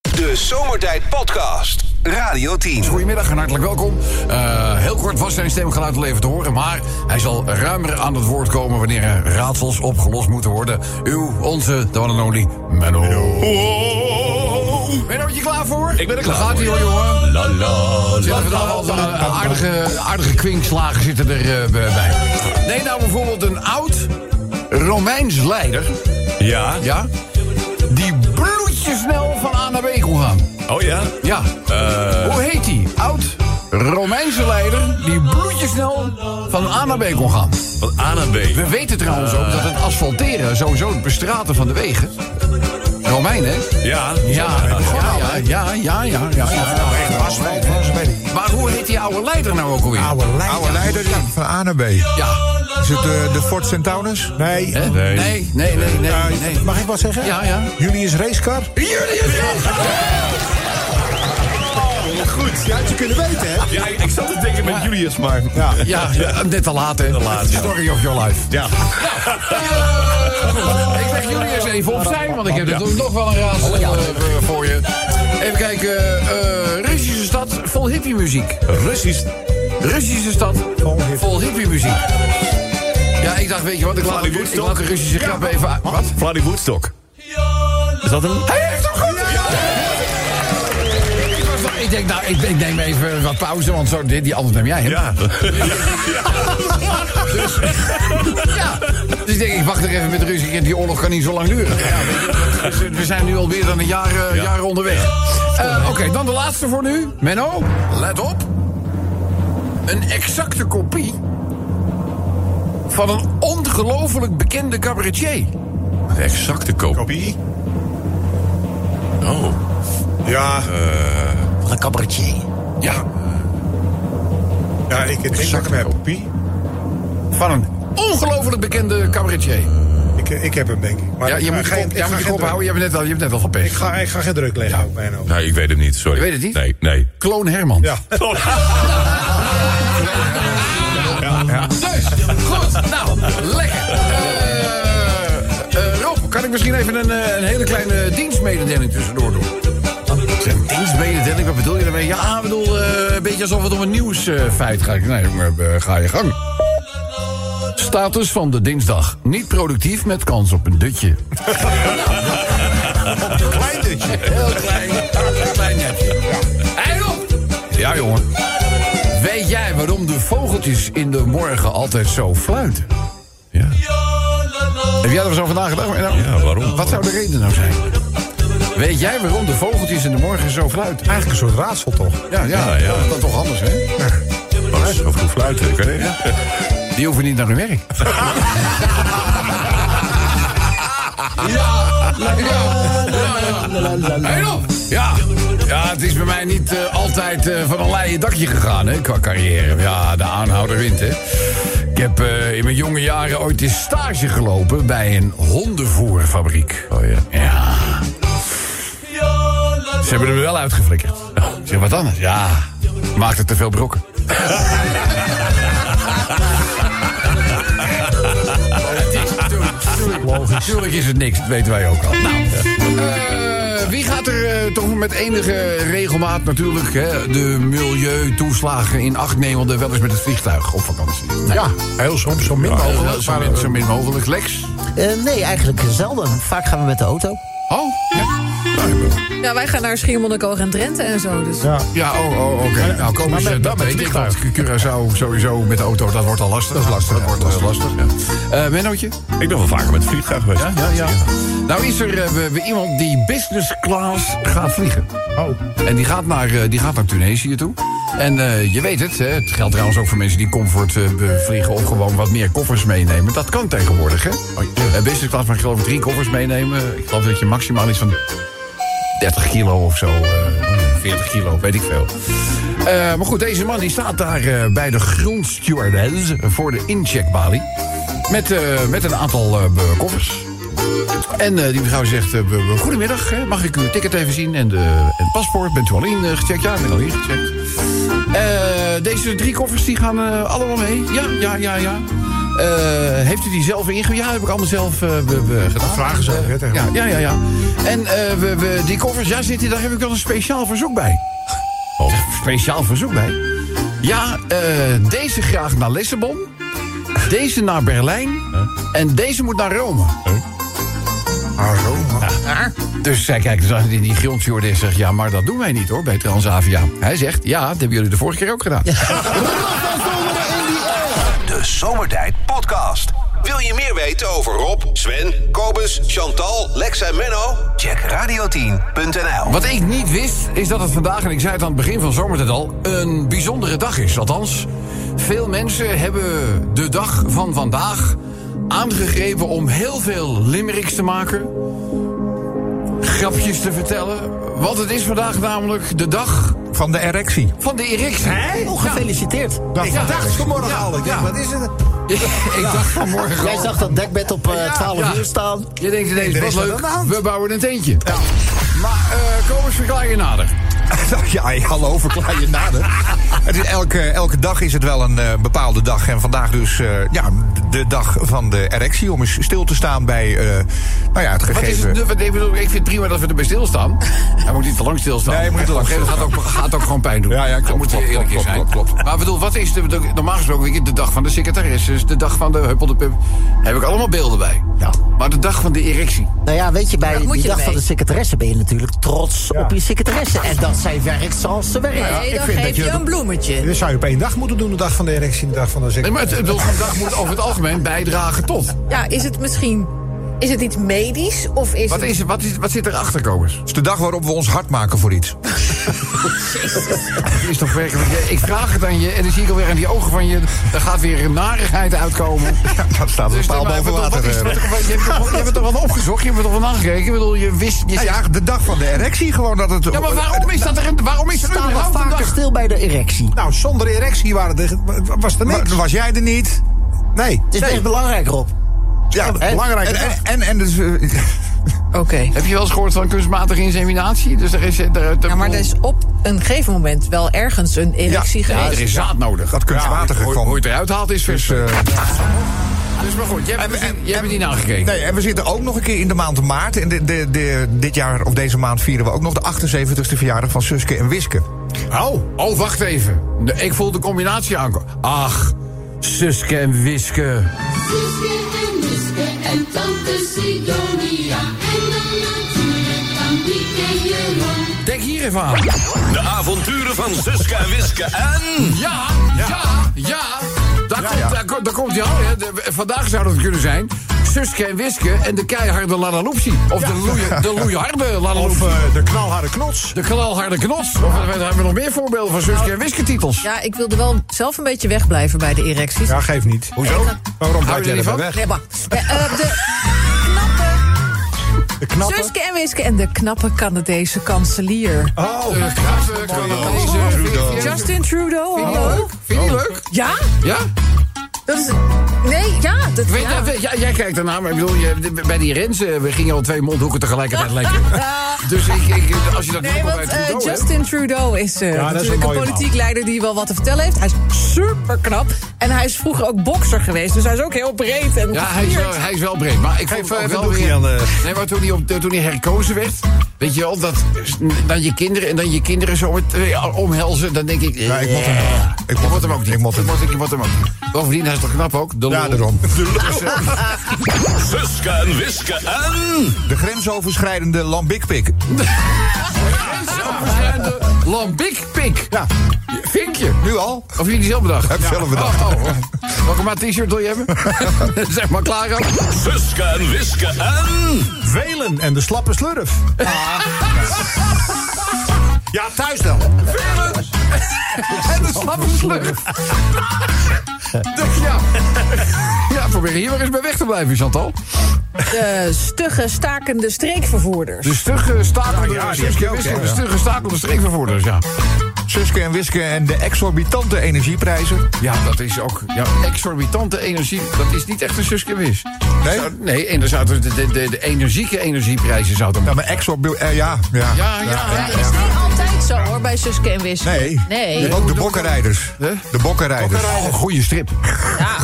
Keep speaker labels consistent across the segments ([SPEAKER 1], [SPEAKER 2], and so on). [SPEAKER 1] De Zomertijd Podcast. Radio 10.
[SPEAKER 2] Goedemiddag en hartelijk welkom. Eh, heel kort was zijn stemgeluid al even te horen, maar hij zal ruimer aan het woord komen wanneer er raadsels opgelost moeten worden. Uw, onze, de one and only Menno. Menno, je klaar voor? Ik ben er klaar gaat voor. gaat jongen. La la Aardige, aardige kwinkslagen zitten er eh, bij. Neem nou bijvoorbeeld een oud Romeins leider,
[SPEAKER 3] Ja.
[SPEAKER 2] ja, die bloedjesnel van A naar B kon gaan.
[SPEAKER 3] Oh ja.
[SPEAKER 2] Ja. eh, Hoe heet die? Oud Romeinse leider die bloedjesnel van A naar B kon gaan.
[SPEAKER 3] Van A naar B.
[SPEAKER 2] We weten trouwens ook dat het asfalteren, sowieso het bestraten van de wegen... Romein, hè?
[SPEAKER 3] Ja.
[SPEAKER 2] Ja, ja, ja, ja, ja, ja.
[SPEAKER 4] Asfalt was bij die
[SPEAKER 2] Maar hoe heet die oude leider nou ook alweer?
[SPEAKER 4] oude leider.
[SPEAKER 5] Oude leider die- van A naar B.
[SPEAKER 2] Ja.
[SPEAKER 5] Is het eh, de Ford Centaurus?
[SPEAKER 4] Nee,
[SPEAKER 2] Hè?
[SPEAKER 3] Nee.
[SPEAKER 2] Nee, nee, nee, nee,
[SPEAKER 4] eh,
[SPEAKER 2] nee.
[SPEAKER 4] mag ik wat zeggen?
[SPEAKER 2] Ja, ja.
[SPEAKER 4] Julius Racecar?
[SPEAKER 3] Goed.
[SPEAKER 4] Ja, had je kunnen weten, hè?
[SPEAKER 3] Ja, ik zat te denken met Julius, maar... Ja.
[SPEAKER 2] Ja, ja, net te laat, hè?
[SPEAKER 3] laat, ja.
[SPEAKER 2] Story of your life.
[SPEAKER 3] Ja.
[SPEAKER 2] Nou, Ik leg jullie eens even opzij, want ik heb er nog wel een raadsel eh, eh, voor je. Even kijken. eh, Russische stad vol hippie-muziek.
[SPEAKER 3] Russisch.
[SPEAKER 2] Russische stad
[SPEAKER 4] Vol hippie.
[SPEAKER 2] vol hippie-muziek. Ja, ik dacht, weet je wat, ik laat, ik
[SPEAKER 3] Vladivostok.
[SPEAKER 2] laat de Russische grap even uit. Wat?
[SPEAKER 3] Vladdy Woodstock. Is dat een...
[SPEAKER 2] Hij heeft hem goed! Ik was nog- Ik denk, nou, ik, ik neem even wat pauze, want zo, dit, die anders neem jij hem.
[SPEAKER 3] Ja.
[SPEAKER 2] Ja. Dus ik denk, ik wacht er even met de ruzie. want Die oorlog kan niet zo lang duren. Ja, weet je, dus we zijn nu alweer dan een jaar, eh,
[SPEAKER 3] Ja.
[SPEAKER 2] jaar onderweg. Eh, Oké, dan de laatste voor nu. Menno, let op. Een exacte kopie van een ongelooflijk bekende cabaretier.
[SPEAKER 3] Een Exacte koop.
[SPEAKER 5] Kopie?
[SPEAKER 3] Oh.
[SPEAKER 5] Ja,
[SPEAKER 2] Een cabaretier? Ja,
[SPEAKER 5] ja ik denk dat ik hem heb. Kopie?
[SPEAKER 2] van een ongelooflijk bekende cabaretier.
[SPEAKER 4] Ik, eh, ik heb hem, denk ik. Maar
[SPEAKER 2] Ja,
[SPEAKER 4] ik
[SPEAKER 2] je
[SPEAKER 4] ga
[SPEAKER 2] moet je
[SPEAKER 4] geen-
[SPEAKER 2] kop,
[SPEAKER 4] ik
[SPEAKER 2] ja,
[SPEAKER 4] ga
[SPEAKER 2] moet je
[SPEAKER 4] geen
[SPEAKER 2] kop
[SPEAKER 4] druk-
[SPEAKER 2] houden. Je hebt net al, je hebt net al gepest.
[SPEAKER 4] Ik ga, ik ga geen druk leggen ook, Menno.
[SPEAKER 3] Nou, ik weet het niet. Oh. Sorry.
[SPEAKER 2] Je weet het niet?
[SPEAKER 3] Nee, nee.
[SPEAKER 2] Kloon Herman.
[SPEAKER 4] Ja.
[SPEAKER 2] Dus, goed, nou, lekker. Eh, eh, Rob, kan ik misschien even een, eh, een hele kleine dienstmededeling tussendoor doen? Ik zeg, Dienstmededeling, wat bedoel je daarmee? Ja, ik bedoel, eh, een beetje alsof het om een nieuwsfeit gaat. Nee, maar, eh, ga je gang. Status van de dinsdag. Niet productief met kans op een dutje.
[SPEAKER 5] Klein dutje.
[SPEAKER 2] Heel klein, heel klein netje. Hey Rob! Ja, jongen. Weet jij waarom de vogeltjes in de morgen altijd zo fluiten?
[SPEAKER 3] Ja.
[SPEAKER 2] Heb jij er zo vandaag gedacht? Nou,
[SPEAKER 3] Ja, waarom?
[SPEAKER 2] Wat zou de reden nou zijn? Weet jij waarom de vogeltjes in de morgen zo fluiten?
[SPEAKER 4] Eigenlijk een soort raadsel, toch?
[SPEAKER 2] Ja, ja,
[SPEAKER 3] Ja, ja.
[SPEAKER 2] dat is toch anders, hè?
[SPEAKER 3] Oh, dat is wel goed fluiten. Ik weet het niet.
[SPEAKER 2] Die hoeven niet naar hun werk. ja, ja, ja, ja. Hey, Rob. ja. Ja, het is bij mij niet eh, altijd eh, van een leien dakje gegaan, hè, qua carrière. Ja, de aanhouder wint, hè. Ik heb eh, in mijn jonge jaren ooit eens stage gelopen bij een hondenvoerfabriek.
[SPEAKER 3] Oh ja.
[SPEAKER 2] Ja. Ze hebben hem wel uitgeflikkerd. Zeg, wat anders? Ja, maakt het te veel brokken. Natuurlijk is het niks, dat weten wij ook al. Nou, eh, wie gaat er eh, toch met enige regelmaat natuurlijk hè, de milieutoeslagen in acht nemen, want wel eens met het vliegtuig op vakantie?
[SPEAKER 6] Ja.
[SPEAKER 4] Heel soms zo min
[SPEAKER 2] Eh,
[SPEAKER 4] mogelijk.
[SPEAKER 2] zo, min, zo min mogelijk. Lex?
[SPEAKER 6] Eh, nee, eigenlijk zelden. Vaak gaan we met de auto.
[SPEAKER 2] Oh? Ja,
[SPEAKER 7] Ja, Nou, wij gaan naar Schiermonnikoog en Drenthe en zo. Dus.
[SPEAKER 4] Ja.
[SPEAKER 2] ja oh, oh oké. Nou, kom eens,
[SPEAKER 4] met-
[SPEAKER 2] eh, dat
[SPEAKER 4] met
[SPEAKER 2] weet ik.
[SPEAKER 4] vliegtuig.
[SPEAKER 2] Want Curaçao sowieso met de auto, dat wordt al lastig. Dat is lastig. Dat wordt al lastig, ja. Eh, Mennootje?
[SPEAKER 3] Ik ben wel vaker met het vliegtuig geweest.
[SPEAKER 2] ja, ja. Nou is er eh, we- we iemand die business class gaat vliegen. Oh. En die gaat naar, eh, die gaat naar Tunesië toe. En eh, je weet het, hè, het geldt trouwens ook voor mensen die comfort eh, be- vliegen... of gewoon wat meer koffers meenemen. Dat kan tegenwoordig, hè? Eh, business class, maar ik geloof drie koffers meenemen. Ik geloof dat je maximaal iets van 30 kilo of zo. eh, 40 kilo, weet ik veel. Eh, maar goed, deze man die staat daar eh, bij de grondstewardess voor de incheckbalie. Met, eh, met een aantal eh, be- koffers. En eh, die mevrouw zegt, eh, be- be- goedemiddag, hè, mag ik uw ticket even zien en, de, en het paspoort? Bent u al ingecheckt? Ja, ik ben al eh, ingecheckt. Eh, deze drie koffers die gaan eh, allemaal mee? Ja, ja, ja, ja. Eh, heeft u die zelf ingehuurd? Ja, heb ik allemaal zelf eh, be- be- gedaan. Eh,
[SPEAKER 4] vragen ze ook, hè,
[SPEAKER 2] ja,
[SPEAKER 4] tegenwoordig.
[SPEAKER 2] ja, ja, ja. En eh, we, we, die koffers, ja, zit hier, daar heb ik wel een speciaal verzoek bij.
[SPEAKER 3] Oh.
[SPEAKER 2] Speciaal verzoek bij? Ja, eh, deze graag naar Lissabon. Deze naar Berlijn. En deze moet naar Rome. Dus zij kijkt dus in die grondjorde en zegt... ja, maar dat doen wij niet hoor, bij Transavia. Hij zegt, ja, dat hebben jullie de vorige keer ook gedaan.
[SPEAKER 1] De Zomertijd Podcast. Wil je meer weten over Rob, Sven, Kobus, Chantal, Lex en Menno? Check radio10.nl.
[SPEAKER 2] Wat ik niet wist, is dat het vandaag, en ik zei het aan het begin van zomertijd al... een bijzondere dag is. Althans, veel mensen hebben de dag van vandaag aangegrepen... om heel veel limericks te maken, grapjes te vertellen. Want het is vandaag namelijk de dag
[SPEAKER 5] Van de erectie.
[SPEAKER 2] van de erectie. Hè?
[SPEAKER 6] Oh, gefeliciteerd.
[SPEAKER 5] Ik dacht vanmorgen al. Ik dacht, wat is het?
[SPEAKER 2] ik dacht vanmorgen
[SPEAKER 6] Jij
[SPEAKER 2] al-
[SPEAKER 6] zag dat dekbed op eh, 12
[SPEAKER 2] ja.
[SPEAKER 6] uur staan.
[SPEAKER 2] Je denkt ineens,
[SPEAKER 5] er
[SPEAKER 2] wat
[SPEAKER 5] is wat
[SPEAKER 2] leuk,
[SPEAKER 5] aan de hand.
[SPEAKER 2] we bouwen een tentje. Maar eh kom eens verklaar je nader.
[SPEAKER 5] Ja, hey, hallo, verklaar je nader. Het is elke, elke dag is het wel een eh, bepaalde dag. En vandaag dus eh, ja, de dag van de erectie. Om eens stil te staan bij eh, nou ja, het
[SPEAKER 2] Wat is
[SPEAKER 5] gegeven...
[SPEAKER 2] het, wat, ik, bedoel, ik vind het prima dat we erbij stilstaan. Hij moet niet te lang stilstaan.
[SPEAKER 5] Nee, hij moet niet te lang
[SPEAKER 2] Op een gegeven moment Gaat ook, gaat ook gewoon pijn doen.
[SPEAKER 5] Ja, ja,
[SPEAKER 2] Daar
[SPEAKER 5] klopt,
[SPEAKER 2] moeten we
[SPEAKER 5] klopt,
[SPEAKER 2] eerlijk in
[SPEAKER 5] klopt,
[SPEAKER 2] zijn.
[SPEAKER 5] klopt, klopt, klopt.
[SPEAKER 2] Maar ik bedoel, wat is de, de- normaal gesproken weet je, de dag van de secretaresses, de dag van de huppel de pup. Daar heb ik allemaal beelden bij.
[SPEAKER 6] Ja.
[SPEAKER 2] Maar de dag van de erectie.
[SPEAKER 6] Nou ja, weet je, bij
[SPEAKER 7] moet
[SPEAKER 6] die
[SPEAKER 7] je
[SPEAKER 6] dag van
[SPEAKER 7] ermee.
[SPEAKER 6] de secretaresse ben je natuurlijk trots op je secretaresse. En dat zij werkt zoals ze werkt.
[SPEAKER 7] Nee,
[SPEAKER 4] ik
[SPEAKER 7] dan
[SPEAKER 4] vind dat
[SPEAKER 7] geef je
[SPEAKER 4] je-
[SPEAKER 7] een bloemetje.
[SPEAKER 5] Dus-
[SPEAKER 4] Dit zou je op één dag moeten doen, de dag van de erectie en de dag van de
[SPEAKER 2] Nee,
[SPEAKER 4] zin.
[SPEAKER 2] maar het, ik bedoel, een dag moet over het algemeen bijdragen tot.
[SPEAKER 7] Ja, is het misschien... Is het iets medisch? Of is
[SPEAKER 2] Wat,
[SPEAKER 7] het...
[SPEAKER 2] is, wat, is, wat zit erachter, komers?
[SPEAKER 5] Het is de dag waarop we ons hard maken voor iets.
[SPEAKER 2] Het is toch werkelijk. eh, Ik vraag het aan je en dan zie ik alweer aan die ogen van je. Er gaat weer een narigheid uitkomen.
[SPEAKER 5] Dat staat een
[SPEAKER 2] Dus
[SPEAKER 5] paal
[SPEAKER 2] dan- maar
[SPEAKER 5] boven
[SPEAKER 2] ik bedoel,
[SPEAKER 5] water.
[SPEAKER 2] wat is-
[SPEAKER 5] eh.
[SPEAKER 2] wat- wat- Je hebt toch- je hebt het toch wel opgezocht, je hebt het toch wel aangekeken. Ik bedoel, je wist. Je,
[SPEAKER 5] Ja, ja, de dag van de erectie gewoon dat het...
[SPEAKER 2] ja, maar waarom is dat er een. Waarom is er
[SPEAKER 6] Staan we
[SPEAKER 2] überhaupt een
[SPEAKER 6] vaker
[SPEAKER 2] dag?
[SPEAKER 6] stil bij de erectie.
[SPEAKER 4] Nou, zonder erectie waren de, was er niks.
[SPEAKER 5] Maar Was jij er niet?
[SPEAKER 4] Nee.
[SPEAKER 6] Het is echt belangrijk, Rob.
[SPEAKER 5] Ja,
[SPEAKER 6] hè?
[SPEAKER 5] belangrijk. En, en, en, en dus, eh,
[SPEAKER 7] Oké.
[SPEAKER 2] Heb je wel eens gehoord van kunstmatige inseminatie? Dus er is. Er, er,
[SPEAKER 7] Ja, maar er is op een gegeven moment wel ergens een erectie
[SPEAKER 2] ja, er
[SPEAKER 7] geweest.
[SPEAKER 2] is zaad nodig.
[SPEAKER 5] Dat kunstmatige
[SPEAKER 2] hoe,
[SPEAKER 5] kwam.
[SPEAKER 2] hoe je het eruit haalt is vers. Dus,
[SPEAKER 5] dus, eh,
[SPEAKER 2] maar goed, jij hebt,
[SPEAKER 5] en-
[SPEAKER 2] het niet-
[SPEAKER 5] en-
[SPEAKER 2] jij hebt het niet nagekeken.
[SPEAKER 5] Nee, en we zitten ook nog een keer in de maand maart. En de, de, de, dit jaar of deze maand vieren we ook nog de 78 e verjaardag van Suske en Wiske.
[SPEAKER 2] Oh, oh, wacht even. Nee, Ik voel de combinatie aankomen. Ach, Suske en Wiske.
[SPEAKER 8] Suske en Wiske en tante Sidonia. En dan natuurlijk Antiek en Jeroen.
[SPEAKER 2] Denk hier even aan.
[SPEAKER 9] De avonturen van Suske en Wiske en...
[SPEAKER 2] Ja, ja, ja. Daar, komt,
[SPEAKER 5] ja.
[SPEAKER 2] Daar, komt- daar komt hij aan. Hè. De- vandaag zou dat kunnen zijn. Suske en Wiske en de keiharde Lalaloopsie. Of de, loeie, de loeiharde
[SPEAKER 4] Of
[SPEAKER 2] Lalaloopsie.
[SPEAKER 4] eh, de knalharde knots.
[SPEAKER 2] de knalharde knots. Of we hebben we nog meer voorbeelden van Suske en Wiske titels.
[SPEAKER 7] Ja, ik wilde wel zelf een beetje wegblijven bij de erecties.
[SPEAKER 4] Ja, geef niet.
[SPEAKER 2] Hoezo?
[SPEAKER 4] Waarom
[SPEAKER 2] Hou
[SPEAKER 4] blijf
[SPEAKER 2] je er
[SPEAKER 4] jij
[SPEAKER 2] niet
[SPEAKER 4] erbij
[SPEAKER 2] van?
[SPEAKER 4] weg?
[SPEAKER 7] Nee, maar, eh, eh, de knappe...
[SPEAKER 4] De knappen.
[SPEAKER 7] Suske en Wiske en de knappe Canadese kanselier.
[SPEAKER 4] Oh,
[SPEAKER 2] De knappe Canadese-
[SPEAKER 7] Justin Trudeau.
[SPEAKER 2] Vind je
[SPEAKER 7] hallo.
[SPEAKER 2] die leuk? Vind je die leuk?
[SPEAKER 7] Ja?
[SPEAKER 2] Ja?
[SPEAKER 7] Dat is... Nee, ja. Dat,
[SPEAKER 2] Weet,
[SPEAKER 7] ja.
[SPEAKER 2] eh, weet- ja, jij kijkt ernaar, maar ik bedoel, je, bij die Rensen, we gingen al twee mondhoeken tegelijkertijd lekker. Dus ik, ik, als je dat
[SPEAKER 7] Nee,
[SPEAKER 2] nummer bij
[SPEAKER 7] want eh,
[SPEAKER 2] Trudeau hebt-
[SPEAKER 7] Justin Trudeau is eh,
[SPEAKER 4] dat is een
[SPEAKER 7] natuurlijk een,
[SPEAKER 4] mooie man.
[SPEAKER 7] politiek leider die wel wat te vertellen heeft. Hij is super knap. En hij is vroeger ook bokser geweest. Dus hij is ook heel breed. En
[SPEAKER 2] Ja, hij is, wel,
[SPEAKER 7] gevierd.
[SPEAKER 2] hij is wel breed. Maar ik
[SPEAKER 5] Oh,
[SPEAKER 2] vond het ook
[SPEAKER 4] even
[SPEAKER 2] wel
[SPEAKER 4] een
[SPEAKER 2] weer...
[SPEAKER 4] doekje aan
[SPEAKER 5] eh?
[SPEAKER 4] de-
[SPEAKER 2] Nee, maar toen hij, op, toen hij herkozen werd... Weet je wel, dat dan je kinderen en dan je kinderen zo met, eh, omhelzen... dan denk ik...
[SPEAKER 5] Ja, ik moet hem- ik moet
[SPEAKER 2] ik moet hem
[SPEAKER 5] hem-
[SPEAKER 2] ook niet.
[SPEAKER 5] ik moet hem.
[SPEAKER 2] ik, ik moet hem ook niet. Bovendien, hij is toch knap ook? De
[SPEAKER 5] Ja,
[SPEAKER 2] lul.
[SPEAKER 5] daarom.
[SPEAKER 9] Suske en Wiske en...
[SPEAKER 5] De grensoverschrijdende lambikpik.
[SPEAKER 2] oh, Grensoverschrijdende Lambikpik.
[SPEAKER 5] Ja.
[SPEAKER 2] Vinkje.
[SPEAKER 5] Nu al?
[SPEAKER 2] Of jullie die zelf bedacht?
[SPEAKER 5] Heb ik zelf bedacht.
[SPEAKER 2] Oh, oh. Welke maat t-shirt wil je hebben? zeg maar klaar ook.
[SPEAKER 9] Suske en Wiske en...
[SPEAKER 4] Velen en de slappe slurf. Ja, thuis dan.
[SPEAKER 2] En de slappe slurf. Dus ja. ja, probeer hier maar eens bij weg te blijven, Chantal. eh,
[SPEAKER 7] De eh, stugge, stakende streekvervoerders.
[SPEAKER 2] De stugge stakelde,
[SPEAKER 5] Ja, ja, die heb
[SPEAKER 2] Suske
[SPEAKER 5] je ook,
[SPEAKER 2] Wiske,
[SPEAKER 5] hè,
[SPEAKER 2] de
[SPEAKER 5] ja.
[SPEAKER 2] stugge stakelde streekvervoerders, dus ja.
[SPEAKER 5] Suske en Wiske en de exorbitante energieprijzen.
[SPEAKER 2] Ja, dat is ook ja, exorbitante energie. Dat is niet echt een Suske en Wis.
[SPEAKER 5] Nee?
[SPEAKER 2] Zou- nee, en dan zouden de, de, de, de energieke energieprijzen zouden...
[SPEAKER 5] Ja, maar exorbi... eh, ja, ja.
[SPEAKER 2] Ja, ja, ja.
[SPEAKER 7] Hij is niet altijd zo hoor, bij Suske en Wiske.
[SPEAKER 5] Nee.
[SPEAKER 7] Nee.
[SPEAKER 5] Je hebt ook de bokkenrijders.
[SPEAKER 2] Hè?
[SPEAKER 5] De bokkenrijders.
[SPEAKER 2] Oh, goede strip.
[SPEAKER 7] Ja.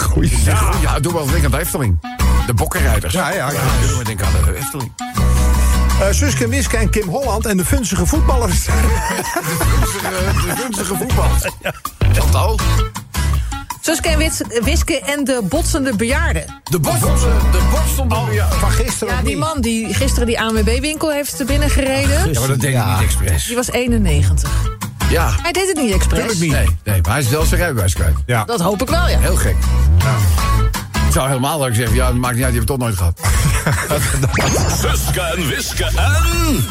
[SPEAKER 2] Ja, ja doe wel denk aan de Efteling. De bokkenrijders.
[SPEAKER 5] Ja, ja, ja.
[SPEAKER 2] Doe maar denk aan de Efteling.
[SPEAKER 4] Eh, Suske en Wiske en Kim Holland en de funzige voetballers.
[SPEAKER 2] Dus, eh, De gunstige voetbal. Chantal.
[SPEAKER 7] Suske en Wits- Wiske en de botsende bejaarden.
[SPEAKER 2] De borstel. De borstel. ja.
[SPEAKER 4] Van gisteren
[SPEAKER 7] Ja,
[SPEAKER 4] of
[SPEAKER 7] die
[SPEAKER 4] niet?
[SPEAKER 7] man die gisteren die ANWB-winkel heeft binnengereden...
[SPEAKER 2] Dus, Ja, maar dat deed hij niet expres.
[SPEAKER 7] Die was 91.
[SPEAKER 2] Ja.
[SPEAKER 7] Hij deed het niet expres.
[SPEAKER 2] Tuurlijk niet. Nee, nee, maar hij is zelfs zijn rijbewijs kwijt.
[SPEAKER 4] Ja.
[SPEAKER 7] Dat hoop ik wel, ja.
[SPEAKER 2] Heel gek. Ik zou helemaal leuk zeggen, ja, dat maakt niet uit, je hebt het toch nooit gehad.
[SPEAKER 9] Suske en Wiske en...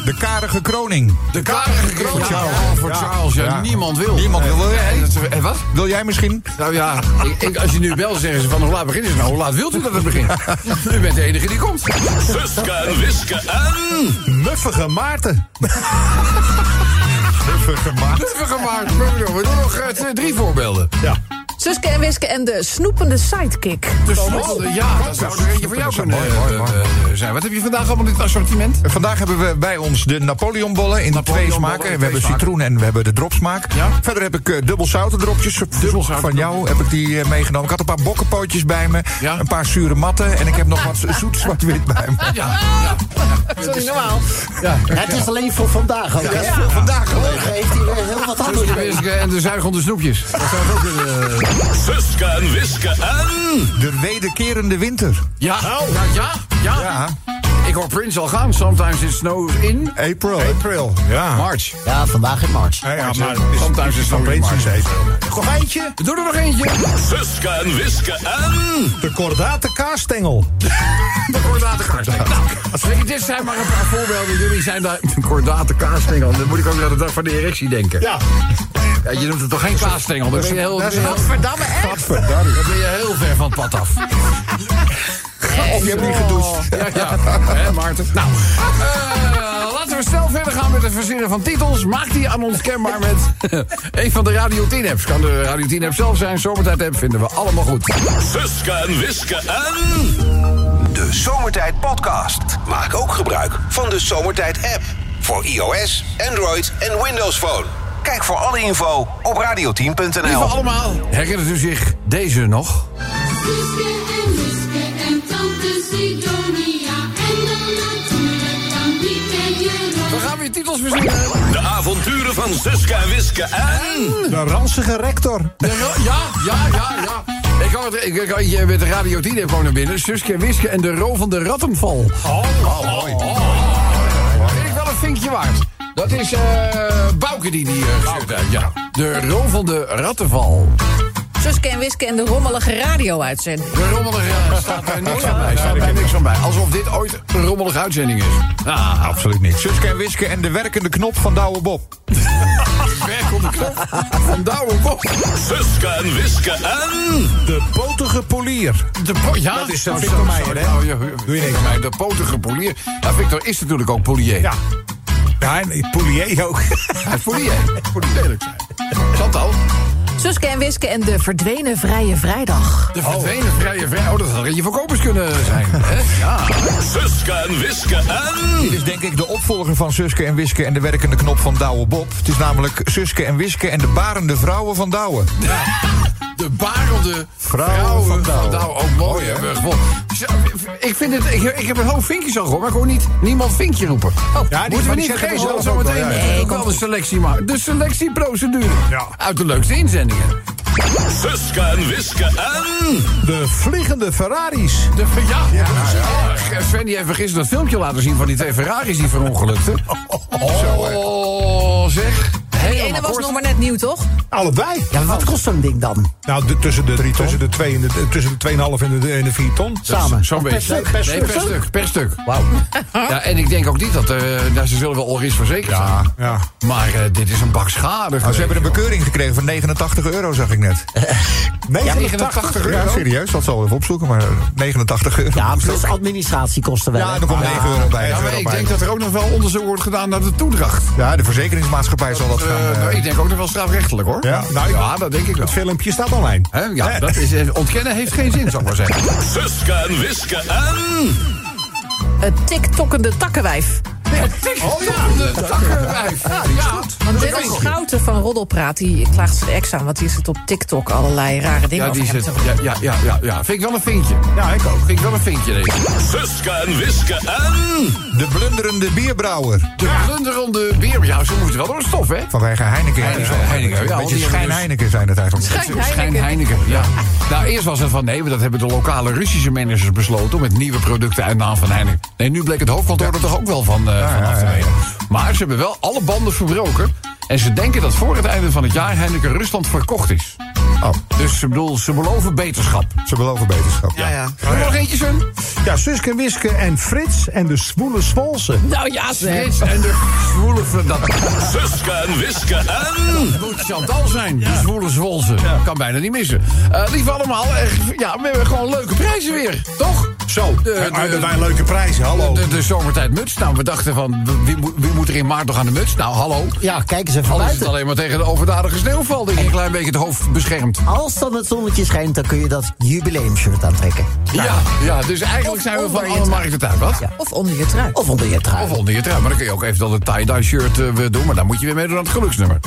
[SPEAKER 5] De karige kroning.
[SPEAKER 2] De karige kroon. Voor Charles. voor Charles, ja,
[SPEAKER 5] Ja.
[SPEAKER 2] niemand wil.
[SPEAKER 5] Niemand wil
[SPEAKER 2] Nee,
[SPEAKER 5] er.
[SPEAKER 2] dat is- eh, wat?
[SPEAKER 5] Wil jij misschien?
[SPEAKER 2] Nou ja, ik, ik- als je nu belt, zeggen ze van hoe laat beginnen ze nou? Hoe laat wilt u dat het begint? U bent de enige die komt.
[SPEAKER 9] Suske en Wiske en...
[SPEAKER 4] Muffige Maarten.
[SPEAKER 5] Muffige maat.
[SPEAKER 2] Even gemaakt. We doen nog eh, twee- drie voorbeelden.
[SPEAKER 7] Suske en Wiske en de snoepende sidekick.
[SPEAKER 2] Dus ja, dat zou er eentje voor jou kunnen
[SPEAKER 5] Mooi, mooi,
[SPEAKER 2] eh,
[SPEAKER 5] mooi.
[SPEAKER 2] eh, zijn. Wat heb je vandaag allemaal in het assortiment?
[SPEAKER 5] Vandaag hebben we bij ons de Napoleonbollen in
[SPEAKER 2] Napoleonbollen
[SPEAKER 5] twee
[SPEAKER 2] in twee
[SPEAKER 5] smaken. We hebben
[SPEAKER 2] smaken.
[SPEAKER 5] citroen en we hebben de dropsmaak.
[SPEAKER 2] Ja.
[SPEAKER 5] Verder heb ik eh, dubbel zouten dropjes.
[SPEAKER 2] Dubbelzouten.
[SPEAKER 5] Van jou heb ik die eh, meegenomen. Ik had een paar bokkenpootjes bij me.
[SPEAKER 2] Ja.
[SPEAKER 5] Een paar zure matten. En ik heb nog wat zoet zwart-wit bij me.
[SPEAKER 2] Ja, ja.
[SPEAKER 7] Dat is Ah! normaal.
[SPEAKER 6] Het is alleen voor vandaag ook. hè?
[SPEAKER 5] Voor vandaag alleen.
[SPEAKER 6] Morgen heeft hij weer heel wat anders.
[SPEAKER 2] Suske, Wiske eh, en de zuigende snoepjes. Dat zou het ook kunnen. eh,
[SPEAKER 9] Suske en Wiske en...
[SPEAKER 5] De wederkerende winter.
[SPEAKER 2] Ja, ja, ja, ja.
[SPEAKER 5] Ja.
[SPEAKER 2] Ik hoor Prince al gaan. Sometimes it snows in
[SPEAKER 5] April. April. Ja.
[SPEAKER 2] March.
[SPEAKER 6] Ja, vandaag in maart.
[SPEAKER 5] Ja, maar
[SPEAKER 2] Sometimes it snows in March.
[SPEAKER 4] Gordijntje.
[SPEAKER 2] Doe er nog eentje.
[SPEAKER 9] Suske en Wiske en...
[SPEAKER 4] De kordate kaasstengel.
[SPEAKER 2] Kordate kaarsling. Nou, als ik- dit zijn maar een paar voorbeelden. Jullie zijn daar... Een Kordate kaarsstengel. Dan moet ik ook aan de dag van de erectie denken.
[SPEAKER 4] Ja.
[SPEAKER 2] Ja, je noemt het toch geen kaarsstengel? Dan ben je heel,
[SPEAKER 4] Dat is
[SPEAKER 2] heel-
[SPEAKER 4] godverdamme echt.
[SPEAKER 2] dan ben je heel ver van het pad af.
[SPEAKER 5] Of je hebt niet gedoucht.
[SPEAKER 2] Ja, ja. Hè, Maarten? Nou, eh, laten we snel verder gaan met het verzinnen van titels. Maak die aan ons kenbaar met een van de Radio 10-apps. Kan de Radio 10-app zelf zijn. Zomertijd-app vinden we allemaal goed.
[SPEAKER 9] Suske en Wiske en...
[SPEAKER 1] De Zomertijd Podcast. Maak ook gebruik van de Zomertijd app. Voor iOS, Android en Windows Phone. Kijk voor alle info op
[SPEAKER 2] Lieve
[SPEAKER 1] radioteam.nl.
[SPEAKER 2] allemaal, herinnert u zich deze nog?
[SPEAKER 8] Suske en Wiske en tante Sidonia en dan natuurlijk dan Mieke
[SPEAKER 2] We
[SPEAKER 8] Jeroen.
[SPEAKER 2] gaan weer titels verzinnen.
[SPEAKER 9] De avonturen van Suske en Wiske en...
[SPEAKER 4] De ranzige rector.
[SPEAKER 2] Ja, ja, ja, ja. ja. Ik kan het, ik, ik, je bent de Radio 10 app gewoon naar binnen. Suske en Wiske en de rovende rattenval. Oh, mooi. Vind ik wel een vinkje waard. Dat is eh Bouke die die eh, gestuurd
[SPEAKER 9] Nou,
[SPEAKER 2] heeft, ja. De rovende rattenval.
[SPEAKER 7] Suske en Wiske en de rommelige radio-uitzending.
[SPEAKER 2] De rommelige eh, staat er niks van bij. Staat er niks van bij. Alsof dit ooit een rommelige uitzending is. Ah,
[SPEAKER 5] Absoluut niet. Suske en Wiske en de werkende knop van Douwe Bob.
[SPEAKER 2] weg op de knop van Douwe Bob.
[SPEAKER 9] Suske en Wiske en...
[SPEAKER 4] De potige polier.
[SPEAKER 2] De po- ja,
[SPEAKER 4] Dat is
[SPEAKER 2] zo-
[SPEAKER 4] Victor
[SPEAKER 2] zo-
[SPEAKER 4] Meijer,
[SPEAKER 2] zo-
[SPEAKER 4] hè?
[SPEAKER 2] nou, ja, Victor Meijer, de potige polier. Ja, Victor is natuurlijk ook polier.
[SPEAKER 4] Ja. Ja, en Poulier ook.
[SPEAKER 2] Hij is polier. Moet niet lelijk zijn. Chantal,
[SPEAKER 7] Suske en Wiske en de verdwenen vrije vrijdag.
[SPEAKER 2] de verdwenen vrije vrouw, dat had je voorkomers kunnen zijn. hè? Ja.
[SPEAKER 9] Suske en Wiske en...
[SPEAKER 5] Dit is denk ik de opvolger van Suske en Wiske en de werkende knop van Douwe Bob. Het is namelijk Suske en Wiske en de barende vrouwen van Douwe.
[SPEAKER 2] De barende vrouwen,
[SPEAKER 5] Vrouwen
[SPEAKER 2] van Douw.
[SPEAKER 5] van Douw.
[SPEAKER 2] Ook
[SPEAKER 4] Oh,
[SPEAKER 2] mooi hebben we gewonnen. Zo, Ik, vind het, ik, ik heb een hoop vinkjes al gehoord, maar gewoon niet niemand vinkje roepen. Oh,
[SPEAKER 4] Ja, die-
[SPEAKER 2] moeten we
[SPEAKER 4] maar die
[SPEAKER 2] niet
[SPEAKER 4] zetten
[SPEAKER 2] vergeten,
[SPEAKER 4] we
[SPEAKER 2] want
[SPEAKER 4] zelf ook
[SPEAKER 2] zometeen
[SPEAKER 4] wel, ja,
[SPEAKER 2] meteen ook wel de selectie maken. De selectieprocedure. Uit de leukste inzendingen.
[SPEAKER 9] Suske en Wiske en...
[SPEAKER 4] De vliegende Ferraris.
[SPEAKER 2] De, ja, ja, ja. Sven die heeft me gisteren dat filmpje laten zien van die twee Ferraris die verongelukten.
[SPEAKER 4] oh,
[SPEAKER 2] Oh, zeg.
[SPEAKER 7] Die ene was nog maar net nieuw, toch?
[SPEAKER 4] Allebei.
[SPEAKER 6] Ja, maar wat kost zo'n ding dan?
[SPEAKER 4] Nou, de- tussen de 2,5 tussen de twee en de- eh, tussen de 2,5 en de- en de 4 ton.
[SPEAKER 6] Samen.
[SPEAKER 2] Zo'n beetje.
[SPEAKER 4] stuk, per
[SPEAKER 2] nee,
[SPEAKER 4] stuk.
[SPEAKER 2] per stuk. Per stuk. Wauw. Ja, en ik denk ook niet dat er, nou, ze zullen wel al eens verzekerd zijn.
[SPEAKER 4] ja.
[SPEAKER 2] Maar eh, dit is een bak schade.
[SPEAKER 5] Nou, ze
[SPEAKER 2] geweest,
[SPEAKER 5] hebben een
[SPEAKER 2] joh.
[SPEAKER 5] bekeuring gekregen van 89 euro, zag ik net.
[SPEAKER 4] 89
[SPEAKER 5] Ja, serieus, dat zal even opzoeken, maar 89 euro.
[SPEAKER 6] Ja, plus administratiekosten wel.
[SPEAKER 5] Ja,
[SPEAKER 6] hè?
[SPEAKER 5] en er komt 9 euro bij.
[SPEAKER 2] Ja, maar
[SPEAKER 5] euro
[SPEAKER 2] ik
[SPEAKER 5] bij.
[SPEAKER 2] denk dat er ook nog wel onderzoek wordt gedaan naar de toedracht.
[SPEAKER 5] Ja, de verzekeringsmaatschappij zal dat
[SPEAKER 2] Eh,
[SPEAKER 5] gaan... eh,
[SPEAKER 2] nou, ik denk ook nog wel strafrechtelijk, hoor.
[SPEAKER 4] Ja, nou, ik-
[SPEAKER 2] ja dat denk ik wel.
[SPEAKER 4] Het filmpje staat online.
[SPEAKER 2] Hè, ja, dat is, eh, ontkennen heeft geen zin, zou ik maar zeggen.
[SPEAKER 9] Suske en Wiske en...
[SPEAKER 7] Het tiktokkende takkenwijf. Oh,
[SPEAKER 2] Oh ja, de takkenwijf. Ja,
[SPEAKER 7] Want dit Bart Schouten van Roddelpraat, die klaagt zijn ex aan... want die zit op TikTok allerlei rare dingen
[SPEAKER 2] Ja,
[SPEAKER 7] over
[SPEAKER 2] die
[SPEAKER 7] hem
[SPEAKER 2] zit. Ja,
[SPEAKER 7] te-
[SPEAKER 2] ja, ja, ja, ja. Vind ik wel een vinkje. Ja, ik ook. Vind ik wel een vinkje, deze.
[SPEAKER 9] Suske en Wiske en...
[SPEAKER 5] De blunderende bierbrouwer.
[SPEAKER 2] De blunderende bier. Ja, ze moeten wel door de stof, hè?
[SPEAKER 5] Vanwege Heineken.
[SPEAKER 2] Heineken,
[SPEAKER 5] Ja,
[SPEAKER 2] Heineken, ja,
[SPEAKER 5] Een
[SPEAKER 2] want die
[SPEAKER 5] beetje
[SPEAKER 2] hebben
[SPEAKER 5] schijn
[SPEAKER 2] dus-
[SPEAKER 5] Heineken zijn het eigenlijk.
[SPEAKER 7] Schijn
[SPEAKER 2] Schijn
[SPEAKER 7] Heineken.
[SPEAKER 2] Heineken, ja. Nou, eerst was het van nee, want dat hebben de lokale Russische managers besloten... om met nieuwe producten uit naam van Heineken. Nee, nu bleek het hoofdkantoor er toch ook wel van, eh, van af te weten. Maar ze hebben wel alle banden verbroken... en ze denken dat voor het einde van het jaar Heineken Rusland verkocht is.
[SPEAKER 5] Oh.
[SPEAKER 2] Dus ze, bedoel, ze beloven beterschap.
[SPEAKER 5] Ze beloven beterschap.
[SPEAKER 2] Ja, ja. Nog eentje, Sun?
[SPEAKER 4] Ja, Suske, Wiske en Frits en de zwoele Zwolse.
[SPEAKER 7] Nou ja, zeg.
[SPEAKER 2] Frits en de zwoele... ver- Dat
[SPEAKER 9] Suske en Wiske en...
[SPEAKER 2] moet Chantal zijn. Die zwoele zwolse. Kan bijna niet missen. Eh lief allemaal, eh, ja, we hebben gewoon leuke prijzen weer. Toch? Zo. de-
[SPEAKER 4] Maar
[SPEAKER 2] de-
[SPEAKER 4] hebben wij leuke prijzen, hallo.
[SPEAKER 2] De, de zomertijd muts. Nou, we dachten van, wie, moet- wie moet er in maart nog aan de muts? Nou, hallo.
[SPEAKER 6] Ja, kijk eens even
[SPEAKER 2] Al is het
[SPEAKER 6] buiten.
[SPEAKER 2] alleen maar tegen de overdadige sneeuwval... die je een klein beetje het hoofd beschermt.
[SPEAKER 6] Als dan het zonnetje schijnt, dan kun je dat jubileumshirt aantrekken.
[SPEAKER 2] Ja, ja dus eigenlijk
[SPEAKER 7] Of
[SPEAKER 2] zijn we van
[SPEAKER 7] onder je
[SPEAKER 2] alle
[SPEAKER 7] trui.
[SPEAKER 2] markten thuis, wat?
[SPEAKER 7] Of onder je trui.
[SPEAKER 6] Of onder je trui.
[SPEAKER 2] Of onder je trui. Maar dan kun je ook even dat het tie-dye shirt eh, weer doen. Maar dan moet je weer meedoen aan het geluksnummer.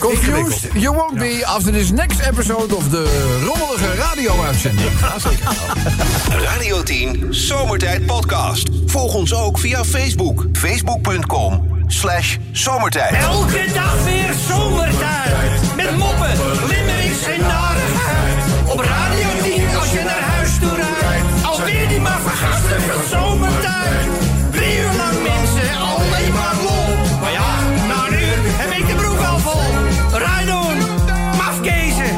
[SPEAKER 2] Confused, you won't be after this next episode of de rommelige radio-uitzending.
[SPEAKER 1] Radio 10 Zomertijd Podcast. Volg ons ook via Facebook. Facebook.com slash zomertijd.
[SPEAKER 10] Elke dag weer zomertijd. Met moppen, limericks en narigheid. Op Radio 10 als je naar huis toe rijdt. Alweer die maar vergastige zomertijd. Drie uur lang mensen, alleen maar lol. Maar ja, na een uur heb ik de broek al vol. Rijdoen, mafkezen.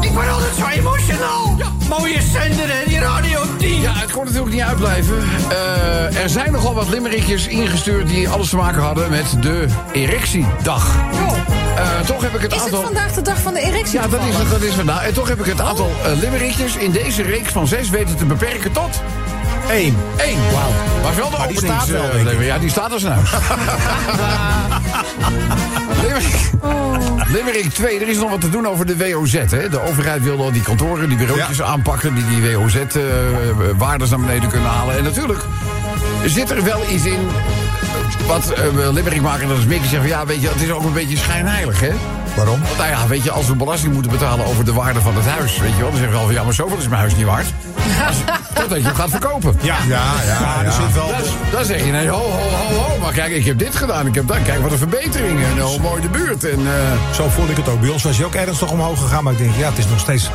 [SPEAKER 10] Ik word altijd zo emotional. Mooie zender hè, die Radio 10.
[SPEAKER 2] Ja, het kon natuurlijk niet uitblijven. Eh, er zijn nogal wat limmerikjes ingestuurd die alles te maken hadden met de erectiedag. Eh, toch heb ik het
[SPEAKER 7] Oh. Is het
[SPEAKER 2] aantal.
[SPEAKER 7] vandaag de dag van de erectie?
[SPEAKER 2] ja, dat is, het,
[SPEAKER 7] toevallig?
[SPEAKER 2] dat is vandaag. En toch heb ik het aantal eh, limmerikjes in deze reeks van zes weten te beperken tot.
[SPEAKER 4] Eén.
[SPEAKER 2] één. Wauw. Was wel de
[SPEAKER 4] Maar die staat
[SPEAKER 2] openings,
[SPEAKER 4] wel,
[SPEAKER 2] eh,
[SPEAKER 4] denk ik.
[SPEAKER 2] limmer- Ja, die staat als een huis. Limmerik. Limmerik 2, er is nog wat te doen over de WOZ. Hè? De overheid wilde al die kantoren, die bureautjes
[SPEAKER 5] Ja.
[SPEAKER 2] aanpakken... die die WOZ-waardes eh, naar beneden kunnen halen. En natuurlijk zit er wel iets in wat eh Limmerik maken... dat is Mickey zegt van ja, weet je, het is ook een beetje schijnheilig, hè?
[SPEAKER 5] Waarom?
[SPEAKER 2] Nou ja, weet je, als we belasting moeten betalen over de waarde van het huis... weet je wel, dan zeggen we al van ja, maar zoveel is mijn huis niet waard. Totdat je hem gaat verkopen.
[SPEAKER 4] Ja,
[SPEAKER 5] Ja, ja,
[SPEAKER 4] er
[SPEAKER 5] ja.
[SPEAKER 4] zit wel...
[SPEAKER 2] Dan, dan zeg je, nee, ho, ho, ho, ho, maar kijk, ik heb dit gedaan, ik heb dat. Kijk, wat een verbetering en eh, hoe mooi de buurt. En, eh,
[SPEAKER 4] Zo voelde ik het ook. Bij ons was je ook ernstig omhoog gegaan. Maar ik denk, ja, het is nog steeds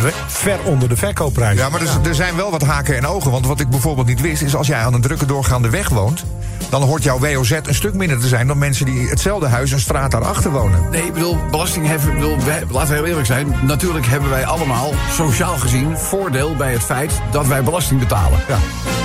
[SPEAKER 4] ver- ver onder de verkoopprijs.
[SPEAKER 5] Ja, maar er, er zijn wel wat haken en ogen. Want wat ik bijvoorbeeld niet wist, is als jij aan een drukke doorgaande weg woont... dan hoort jouw WOZ een stuk minder te zijn dan mensen die hetzelfde huis en straat daarachter wonen.
[SPEAKER 2] Nee, ik bedoel, belastingheffen, ik bedoel, we- laten we heel eerlijk zijn. Natuurlijk hebben wij allemaal, sociaal gezien, voordeel bij het feit dat wij belasting betalen.
[SPEAKER 5] Ja.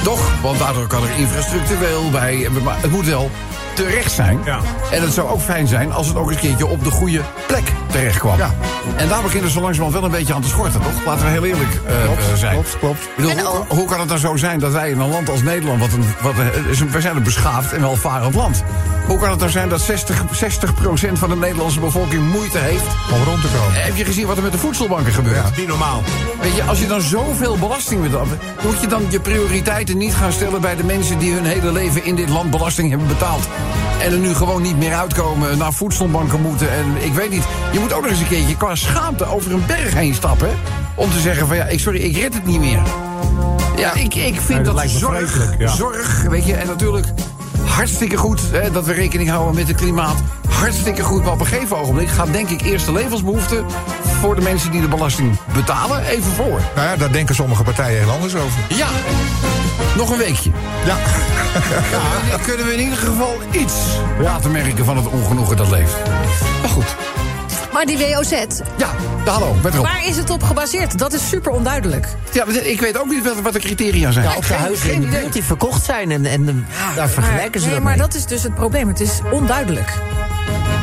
[SPEAKER 2] Toch? Want daardoor kan er infrastructureel bij, maar het moet wel terecht zijn.
[SPEAKER 4] Ja.
[SPEAKER 2] En het zou ook fijn zijn als het ook eens een keertje op de goede plek terecht kwam.
[SPEAKER 5] Ja.
[SPEAKER 2] En daar beginnen ze langzamerhand wel een beetje aan te schorten, toch? Laten we heel eerlijk eh, eh, zijn.
[SPEAKER 5] klopt, klopt.
[SPEAKER 2] Ik bedoel, hoe, hoe kan het nou zo zijn dat wij in een land als Nederland... Wat een, wat een, is een- wij zijn een beschaafd en welvarend land. Hoe kan het nou zijn dat 60, 60 van de Nederlandse bevolking moeite heeft...
[SPEAKER 5] Om rond te komen.
[SPEAKER 2] Heb je gezien wat er met de voedselbanken gebeurt?
[SPEAKER 4] Niet normaal.
[SPEAKER 2] Weet je, als je dan zoveel belasting betaalt... moet je dan je prioriteiten niet gaan stellen bij de mensen... die hun hele leven in dit land belasting hebben betaald. En er nu gewoon niet meer uitkomen, naar voedselbanken moeten... en ik weet niet, je moet ook nog eens een keertje qua schaamte over een berg heen stappen... om te zeggen van ja, ik, sorry, ik red het niet meer. Ja, ik, ik vind
[SPEAKER 4] dat
[SPEAKER 2] dat,
[SPEAKER 4] lijkt me
[SPEAKER 2] zorg,
[SPEAKER 4] vreselijk, ja.
[SPEAKER 2] zorg, weet je, en natuurlijk hartstikke goed hè, dat we rekening houden met het klimaat. Hartstikke goed, maar op een gegeven ogenblik gaat denk ik eerst de levensbehoeften voor de mensen die de belasting betalen even voor.
[SPEAKER 5] Nou ja, daar denken sommige partijen heel anders over.
[SPEAKER 2] Ja, nog een weekje.
[SPEAKER 5] Ja.
[SPEAKER 2] Ja, dan kunnen we in ieder geval iets laten merken van het ongenoegen dat leeft. Maar goed,
[SPEAKER 7] Maar die WOZ,
[SPEAKER 2] ja, de hallo, met erop.
[SPEAKER 7] waar is het op gebaseerd? Dat is super onduidelijk.
[SPEAKER 2] Ja, maar ik weet ook niet wat, wat de criteria zijn.
[SPEAKER 6] Ja, of de
[SPEAKER 2] Geen-
[SPEAKER 6] huizen in
[SPEAKER 2] geen
[SPEAKER 6] de
[SPEAKER 2] idee.
[SPEAKER 6] buurt die verkocht zijn. En, en eh, daar vergelijken ze
[SPEAKER 7] maar,
[SPEAKER 6] dat
[SPEAKER 7] Nee, maar
[SPEAKER 6] mee.
[SPEAKER 7] dat is dus het probleem. Het is onduidelijk.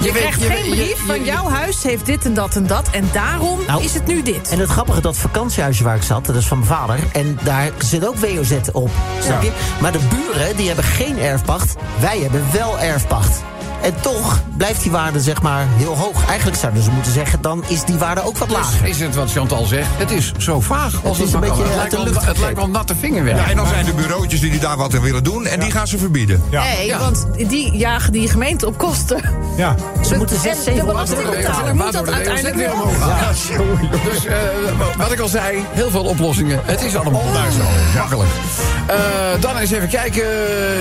[SPEAKER 7] Je,
[SPEAKER 2] weet-
[SPEAKER 7] krijgt
[SPEAKER 2] je
[SPEAKER 7] geen
[SPEAKER 2] weet- je-
[SPEAKER 7] brief
[SPEAKER 2] je-
[SPEAKER 7] van
[SPEAKER 2] je-
[SPEAKER 7] jouw huis heeft dit en dat en dat. En daarom
[SPEAKER 6] Nou,
[SPEAKER 7] is het nu dit.
[SPEAKER 6] En het grappige, dat vakantiehuisje waar ik zat, dat is van mijn vader. En daar zit ook WOZ op, snap je? Maar de buren, die hebben geen erfpacht. Wij hebben wel erfpacht. En toch blijft die waarde zeg maar heel hoog. Eigenlijk zouden ze moeten zeggen, dan is die waarde ook wat
[SPEAKER 7] Dus
[SPEAKER 6] lager.
[SPEAKER 2] Dus Is het wat Chantal zegt? Het is zo vaag als
[SPEAKER 6] is
[SPEAKER 2] het,
[SPEAKER 6] een
[SPEAKER 2] maar kan.
[SPEAKER 6] beetje
[SPEAKER 2] Het
[SPEAKER 6] uit
[SPEAKER 2] lijkt,
[SPEAKER 6] de
[SPEAKER 2] wel,
[SPEAKER 6] lucht
[SPEAKER 2] het lijkt wel natte vingerwerk.
[SPEAKER 5] Ja, en dan zijn er bureautjes die daar wat aan willen doen en die gaan ze verbieden.
[SPEAKER 7] Nee, want die jagen die gemeente op kosten.
[SPEAKER 4] Ja.
[SPEAKER 6] Ze moeten
[SPEAKER 7] En
[SPEAKER 6] zes,
[SPEAKER 7] de
[SPEAKER 6] zeven euro
[SPEAKER 7] belastingbetaler
[SPEAKER 6] betalen.
[SPEAKER 7] moet dat uiteindelijk weer omhoog.
[SPEAKER 2] Dus eh, wat ik al zei, heel veel oplossingen. Het is allemaal daar zo. Makkelijk. Eh, dan eens even kijken.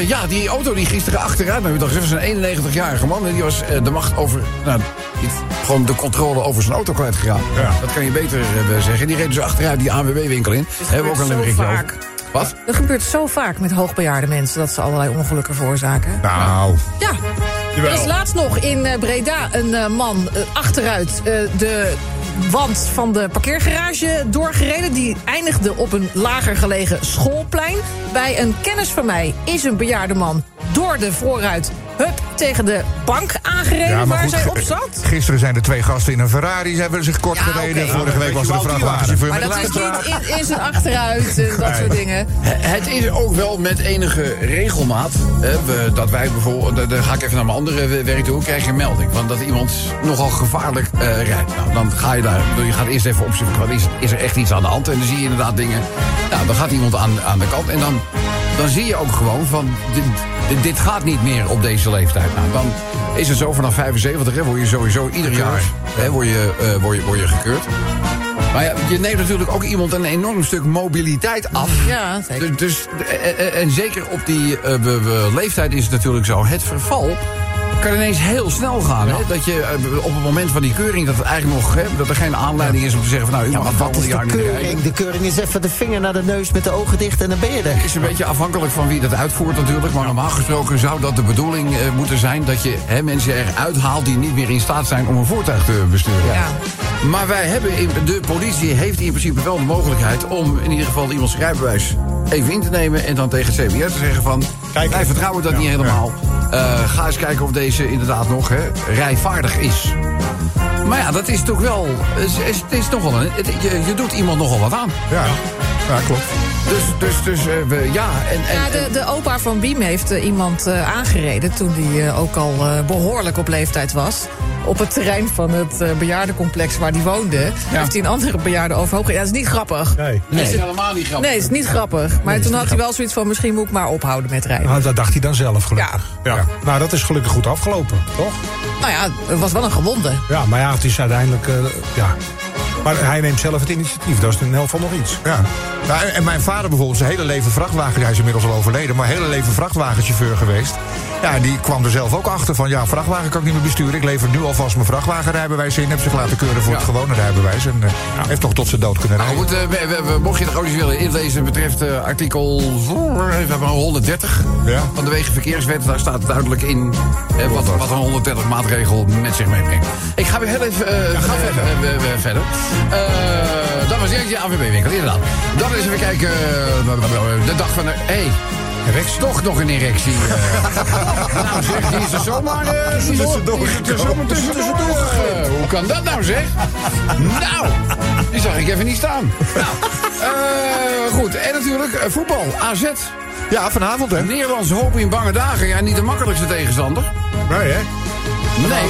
[SPEAKER 2] Ja, die auto die gisteren achteruit met dacht, dat was een 91-jarige man. en Die was eh, de macht over. Nou, die- gewoon de controle over zijn auto kwijtgeraakt. Dat kan je beter eh, zeggen. Die reed dus achteruit die ANWB-winkel in. Hebben we ook
[SPEAKER 7] gebeurt
[SPEAKER 2] een
[SPEAKER 7] zo
[SPEAKER 2] berichtje
[SPEAKER 7] vaak.
[SPEAKER 2] over. Wat?
[SPEAKER 7] Dat gebeurt zo vaak met hoogbejaarde mensen dat ze allerlei ongelukken veroorzaken.
[SPEAKER 5] Nou,
[SPEAKER 7] Ja. Er is laatst nog in eh, Breda een eh, man eh, achteruit eh, de wand van de parkeergarage doorgereden. Die eindigde op een lager gelegen schoolplein. Bij een kennis van mij is een bejaarde man door de voorruit hup tegen de bank aangereden waar zij
[SPEAKER 5] ge-
[SPEAKER 7] op zat.
[SPEAKER 5] Gisteren zijn er twee gasten in een Ferrari. Ze hebben zich kort
[SPEAKER 7] Ja,
[SPEAKER 5] gereden.
[SPEAKER 7] oké.
[SPEAKER 5] Vorige week was er een vrachtwagenchauffeur
[SPEAKER 7] Maar
[SPEAKER 5] met
[SPEAKER 7] dat is
[SPEAKER 5] luisteraar.
[SPEAKER 7] niet in, in zijn achteruit en dat soort dingen.
[SPEAKER 2] Het is ook wel met enige regelmaat. Hè, we, dat wij bijvoorbeeld. daar- Daar ga ik even naar mijn andere eh, werk toe. Krijg je een melding. Want dat iemand nogal gevaarlijk eh, rijdt. Nou, dan ga je daar. ik bedoel, Je gaat eerst even opzoeken. Wat is, is er echt iets aan de hand? En dan zie je inderdaad dingen. Nou, dan gaat iemand aan, aan de kant. En dan, dan zie je ook gewoon van. Dit, dit- dit gaat niet meer op deze leeftijd. Nou, dan is het zo vanaf 75. Hè, word je sowieso ieder jaar. Hè, word, je, eh, word, je, word je gekeurd. Maar ja, je neemt natuurlijk ook iemand een enorm stuk mobiliteit af.
[SPEAKER 7] Ja, zeker.
[SPEAKER 2] Dus, dus, eh, eh, en zeker op die eh, we- we- leeftijd is het natuurlijk zo. Het verval kan ineens heel snel gaan. Hè? Dat je eh, op het moment van die keuring... dat, het eigenlijk nog, hè, dat er geen aanleiding is om te zeggen... van, nou, u
[SPEAKER 6] Ja,
[SPEAKER 2] mag
[SPEAKER 6] maar
[SPEAKER 2] het
[SPEAKER 6] wat is
[SPEAKER 2] volgende
[SPEAKER 6] de
[SPEAKER 2] jaar niet meer
[SPEAKER 6] keuring?
[SPEAKER 2] rijden.
[SPEAKER 6] De keuring is even de vinger naar de neus met de ogen dicht en dan ben je er.
[SPEAKER 2] is een beetje afhankelijk van wie dat uitvoert natuurlijk. Maar normaal gesproken zou dat de bedoeling eh, moeten zijn... dat je hè, mensen eruit haalt die niet meer in staat zijn om een voertuig te besturen.
[SPEAKER 7] Ja.
[SPEAKER 2] Maar wij hebben in, de politie heeft in principe wel de mogelijkheid... om in ieder geval iemands rijbewijs even in te nemen... en dan tegen het CBS te zeggen van... wij vertrouwen dat niet helemaal. Eh, ga eens kijken of deze inderdaad nog hè, rijvaardig is. Maar ja, dat is toch wel... Het is, het is nogal een, het- je, je doet iemand nogal wat aan.
[SPEAKER 5] Ja. ja, klopt.
[SPEAKER 2] Dus, dus, dus eh, we, ja... En, en,
[SPEAKER 7] Ja, de, de opa van Biem heeft eh, iemand eh, aangereden toen die eh, ook al eh, behoorlijk op leeftijd was. Op het terrein van het eh, bejaardencomplex waar die woonde. Heeft hij een andere bejaarde overhoog. Ja, dat is niet grappig.
[SPEAKER 4] Nee.
[SPEAKER 2] Nee, dat is helemaal niet grappig.
[SPEAKER 7] Nee, is niet grappig. Ah. Maar toen had hij wel zoiets van, misschien moet ik maar ophouden met rijden.
[SPEAKER 4] Nou, dat dacht hij dan zelf gelukkig.
[SPEAKER 5] Ja.
[SPEAKER 4] Nou, dat is gelukkig goed afgelopen, toch?
[SPEAKER 7] Nou ja, het was wel een gewonde.
[SPEAKER 4] Ja, maar ja, het is uiteindelijk... eh, ja. Maar hij neemt zelf het initiatief. Dat is in elk geval nog iets.
[SPEAKER 5] Ja. Nou, en- en mijn vader bijvoorbeeld, zijn hele leven vrachtwagen, hij is inmiddels al overleden, maar hele leven vrachtwagenchauffeur geweest. Ja, die kwam er zelf ook achter van, ja, vrachtwagen kan ik niet meer besturen. Ik lever nu alvast mijn vrachtwagenrijbewijs in, heb zich laten keuren voor het gewone rijbewijs en eh, heeft toch tot zijn dood kunnen
[SPEAKER 2] Nou
[SPEAKER 5] rijden.
[SPEAKER 2] goed, eh, we- we- we- mocht je het ook eens willen inlezen, betreft eh, artikel eh, we hebben 130
[SPEAKER 5] Ja.
[SPEAKER 2] van de Wegenverkeerswet. Daar staat duidelijk in eh, wat, wat een 130 maatregel met zich meebrengt. Ik ga weer heel even eh, verder. Eh, we- we- verder. Eh, dat was eerst je AVB-winkel, inderdaad. Dan eens even kijken, eh, de dag van de... Hey,
[SPEAKER 4] Rechts.
[SPEAKER 2] toch nog een erectie. eh. nou zeg, die is er zomaar eh, die is er
[SPEAKER 5] tussendoor
[SPEAKER 2] die is er zomaar tussendoor. Eh, hoe kan dat nou zeg? nou, die zag ik even niet staan. Nou, eh, goed, en natuurlijk eh, voetbal, AZ.
[SPEAKER 5] Ja, vanavond hè?
[SPEAKER 2] Nederlands hoop in bange dagen. Ja, niet de makkelijkste tegenstander.
[SPEAKER 5] Nee hè?
[SPEAKER 2] Nee.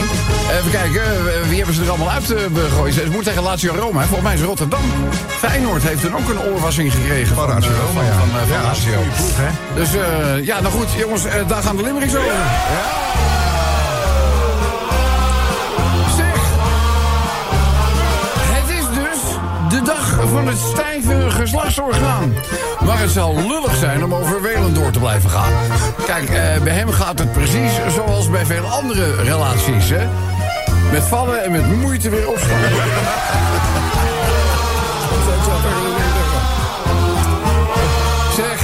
[SPEAKER 2] Even kijken, eh, wie hebben ze er allemaal uit eh, gegooid? Ze moet tegen Lazio Roma. hè. Volgens mij is Rotterdam. Feyenoord heeft toen ook een oorwassing gekregen.
[SPEAKER 5] Van
[SPEAKER 2] eh,
[SPEAKER 5] Lazio Roma,
[SPEAKER 2] van,
[SPEAKER 5] ja.
[SPEAKER 2] van, eh, van
[SPEAKER 5] Ja,
[SPEAKER 2] Lazio.
[SPEAKER 5] goede ploeg, hè.
[SPEAKER 2] Dus eh, ja, nou goed, jongens, eh, daar gaan de limericks over. Zeg, het is dus de dag van het stijve geslachtsorgaan. Maar het zal lullig zijn om over Welen door te blijven gaan. Kijk, eh, bij hem gaat het precies zoals bij veel andere relaties, hè. Met vallen en met moeite weer opstaan. Zeg,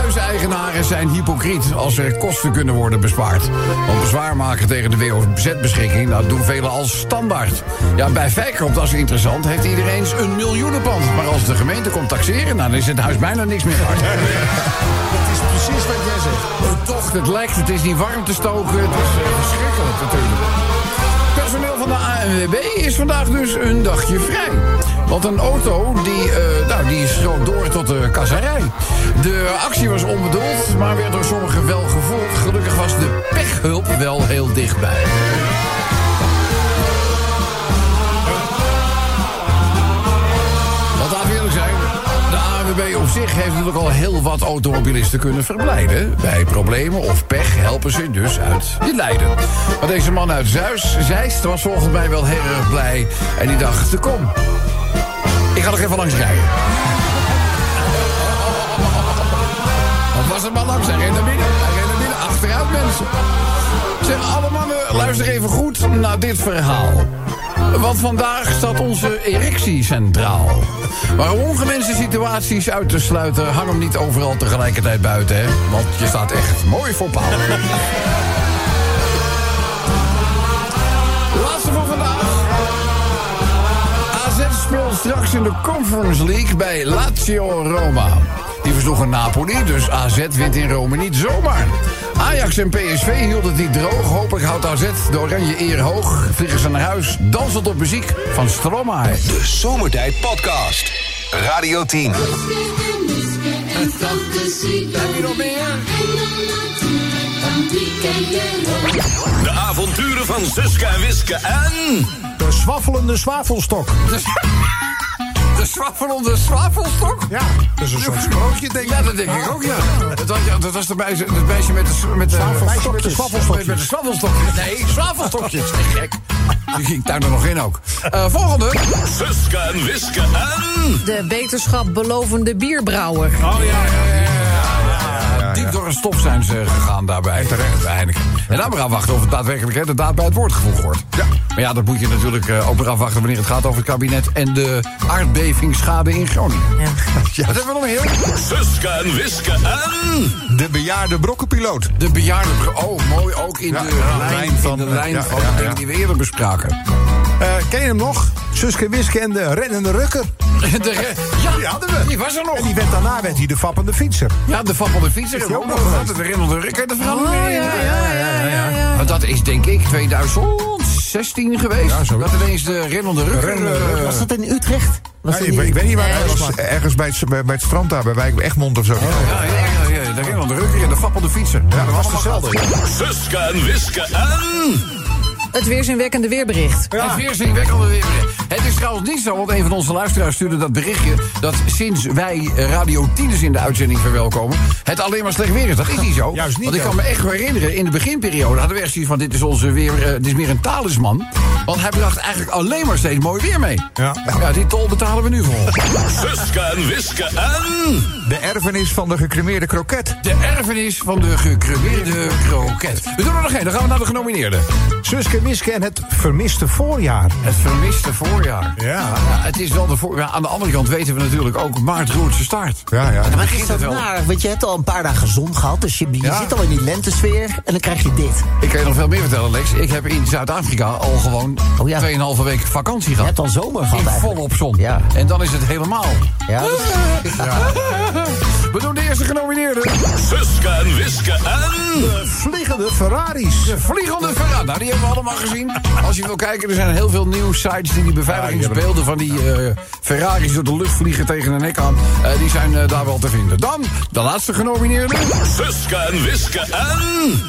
[SPEAKER 2] huiseigenaren zijn hypocriet als er kosten kunnen worden bespaard. Want bezwaar maken tegen de WOZ-beschikking, dat doen velen als standaard. Ja, bij Feyenoord, dat is interessant, heeft iedereen eens een miljoenenpand. Maar als de gemeente komt taxeren, dan is het huis bijna niks meer waard.
[SPEAKER 4] Dat is precies wat jij zegt.
[SPEAKER 2] Oh, toch, het lekt, het is niet warm te stoken. Het is eh, verschrikkelijk natuurlijk. Personeel van van de ANWB is vandaag dus een dagje vrij. Want een auto die, eh nou, die schoot door tot de kasserij. De actie was onbedoeld, maar werd door sommigen wel gevolgd. Gelukkig was de pechhulp wel heel dichtbij. Want laten we eerlijk zijn. De ANWB op zich heeft natuurlijk al heel wat automobilisten kunnen verblijden. Bij problemen of pech helpen ze dus uit je lijden. Maar deze man uit Zuis, Zeist was volgens mij wel heel erg blij. En die dacht, kom, ik ga nog even langs rijden. Wat was het maar langs? Hij reed naar binnen. Hij reed naar binnen. Achteruit, mensen. Zeg, alle mannen, luister even goed naar dit verhaal. Want vandaag staat onze erectie centraal. Maar om ongewenste situaties uit te sluiten... hang hem niet overal tegelijkertijd buiten, hè. Want je staat echt mooi voor paal. Laatste voor vandaag. AZ speelt straks in de Conference League bij Lazio Roma. Die versloegen Napoli, dus AZ wint in Rome niet zomaar. Ajax en PSV hielden het niet droog. Hopelijk houdt AZ de oranje eer hoog. Vliegen ze naar huis, dansend op muziek van Stromae.
[SPEAKER 1] De Zomertijd Podcast. Radio 10.
[SPEAKER 9] De avonturen van Suske en Wiske en...
[SPEAKER 4] De zwaffelende zwavelstok.
[SPEAKER 2] De zwaffelende zwafelstok?
[SPEAKER 4] Ja, dat is een soort sprookje, denk ik.
[SPEAKER 2] Ja, dat denk ik ook, ja. Dat, had je- dat was het meisje, het meisje met de, s- met de
[SPEAKER 4] Zwavelstokjes.
[SPEAKER 2] met de zwavelstokjes. Met de zwavelstokjes. Nee, zwavelstokjes. Nee, gek. Die ging daar nog in ook. Eh, volgende.
[SPEAKER 9] Suske en Wiske en...
[SPEAKER 7] De wetenschap belovende bierbrouwer.
[SPEAKER 2] Diep door een stof zijn ze gegaan daarbij. Terecht. Bij Heineken. En dan maar afwachten of het daadwerkelijk hè, de daad bij het woord gevoegd wordt. Ja. Maar ja, dat moet je natuurlijk eh, ook maar afwachten wanneer het gaat over het kabinet en de aardbevingsschade in Groningen. Ja. Wat hebben we nog heel?
[SPEAKER 9] Suske en Wiske en...
[SPEAKER 5] Hm. De bejaarde brokkenpiloot.
[SPEAKER 2] De bejaarden. Oh, mooi ook in
[SPEAKER 5] Ja,
[SPEAKER 2] de,
[SPEAKER 5] ja,
[SPEAKER 2] lijn,
[SPEAKER 5] lijn
[SPEAKER 2] van,
[SPEAKER 5] van,
[SPEAKER 2] de
[SPEAKER 5] eh,
[SPEAKER 2] lijn
[SPEAKER 5] ja,
[SPEAKER 2] van
[SPEAKER 5] ja,
[SPEAKER 2] de
[SPEAKER 5] ja.
[SPEAKER 2] dingen die we eerder bespraken.
[SPEAKER 4] Eh, ken je hem nog? Suske Wiske en de rennende rukker.
[SPEAKER 2] De re- ja,
[SPEAKER 4] Die hadden we.
[SPEAKER 2] Die was er nog.
[SPEAKER 5] Oh.
[SPEAKER 4] En die werd, daarna werd hij de fappende fietser.
[SPEAKER 2] Ja, de vappelde fietser. Is
[SPEAKER 4] die
[SPEAKER 2] ook
[SPEAKER 4] ook
[SPEAKER 2] nog
[SPEAKER 4] nog
[SPEAKER 2] gehad. Het herinnerde Rick uit de verhaal niet meer.
[SPEAKER 7] ja, ja, ja, ja, ja.
[SPEAKER 2] Want Dat is denk ik 2016 geweest.
[SPEAKER 4] Ja, zo.
[SPEAKER 2] dat ineens de rennende rug. eh,
[SPEAKER 6] Was
[SPEAKER 2] Dus,
[SPEAKER 6] dat in Utrecht? Was
[SPEAKER 5] Ja,
[SPEAKER 6] dat
[SPEAKER 5] ik,
[SPEAKER 6] niet-
[SPEAKER 5] weet- ik weet niet waar,
[SPEAKER 7] Nee.
[SPEAKER 5] ergens, ergens bij, het, bij, bij het strand daar, bij Wijk Egmond
[SPEAKER 4] Oh,
[SPEAKER 5] of zo.
[SPEAKER 2] ja, ja, ja, ja, de rennende rukker en de vappelde fietser. Ja,
[SPEAKER 5] dat was dezelfde.
[SPEAKER 9] Suske en Wiske en...
[SPEAKER 7] Het weerzinwekkende weerbericht.
[SPEAKER 2] Ja. Het weerzinwekkende weer. Het is trouwens niet zo, want een van onze luisteraars stuurde dat berichtje... dat sinds wij eh, Radio 10 dus in de uitzending verwelkomen... het alleen maar slecht weer is. Dat is niet zo.
[SPEAKER 4] Juist niet,
[SPEAKER 2] Want ik
[SPEAKER 4] ja.
[SPEAKER 2] kan me echt herinneren, in de beginperiode hadden we echt zoiets van... dit is, onze weer, eh, dit is meer een talisman. Want hij bracht eigenlijk alleen maar steeds mooi weer mee.
[SPEAKER 4] Ja.
[SPEAKER 2] ja die tol betalen we nu voor.
[SPEAKER 9] Suske en Wiske en...
[SPEAKER 5] De erfenis van de gecremeerde kroket.
[SPEAKER 2] De erfenis van de gecremeerde kroket. We doen er nog één, dan gaan we naar de genomineerden.
[SPEAKER 4] Suske Wiske en het vermiste voorjaar.
[SPEAKER 2] Het vermiste voorjaar. Nou, het is wel de voor... ja, aan de andere kant weten we natuurlijk ook... Maart roert zijn staart.
[SPEAKER 5] Ja, ja.
[SPEAKER 6] Maar is dat
[SPEAKER 2] het wel.
[SPEAKER 6] naar? Want je hebt al een paar dagen zon gehad, dus je, je
[SPEAKER 2] Ja.
[SPEAKER 6] zit al in die lentesfeer en dan krijg je dit.
[SPEAKER 2] Ik kan je nog veel meer vertellen, Lex. Ik heb in Zuid-Afrika al gewoon
[SPEAKER 6] Oh ja.
[SPEAKER 2] 2,5 week vakantie
[SPEAKER 6] Je
[SPEAKER 2] gehad.
[SPEAKER 6] hebt al zomer gehad
[SPEAKER 2] in
[SPEAKER 6] eigenlijk.
[SPEAKER 2] volop zon.
[SPEAKER 6] Ja.
[SPEAKER 2] En dan is het helemaal.
[SPEAKER 6] Ja, dat is-
[SPEAKER 2] We doen de eerste genomineerde.
[SPEAKER 9] Suske en Wiske en...
[SPEAKER 4] Vliegende Ferraris.
[SPEAKER 2] De vliegende Ferrari. Nou, die hebben we allemaal gezien. Als je wil kijken, er zijn heel veel nieuwsites die die beveiligingsbeelden van die eh, Ferraris door de lucht vliegen tegen de nek aan. eh, die zijn eh, daar wel te vinden. Dan de laatste genomineerde.
[SPEAKER 9] Suske en Wiske en...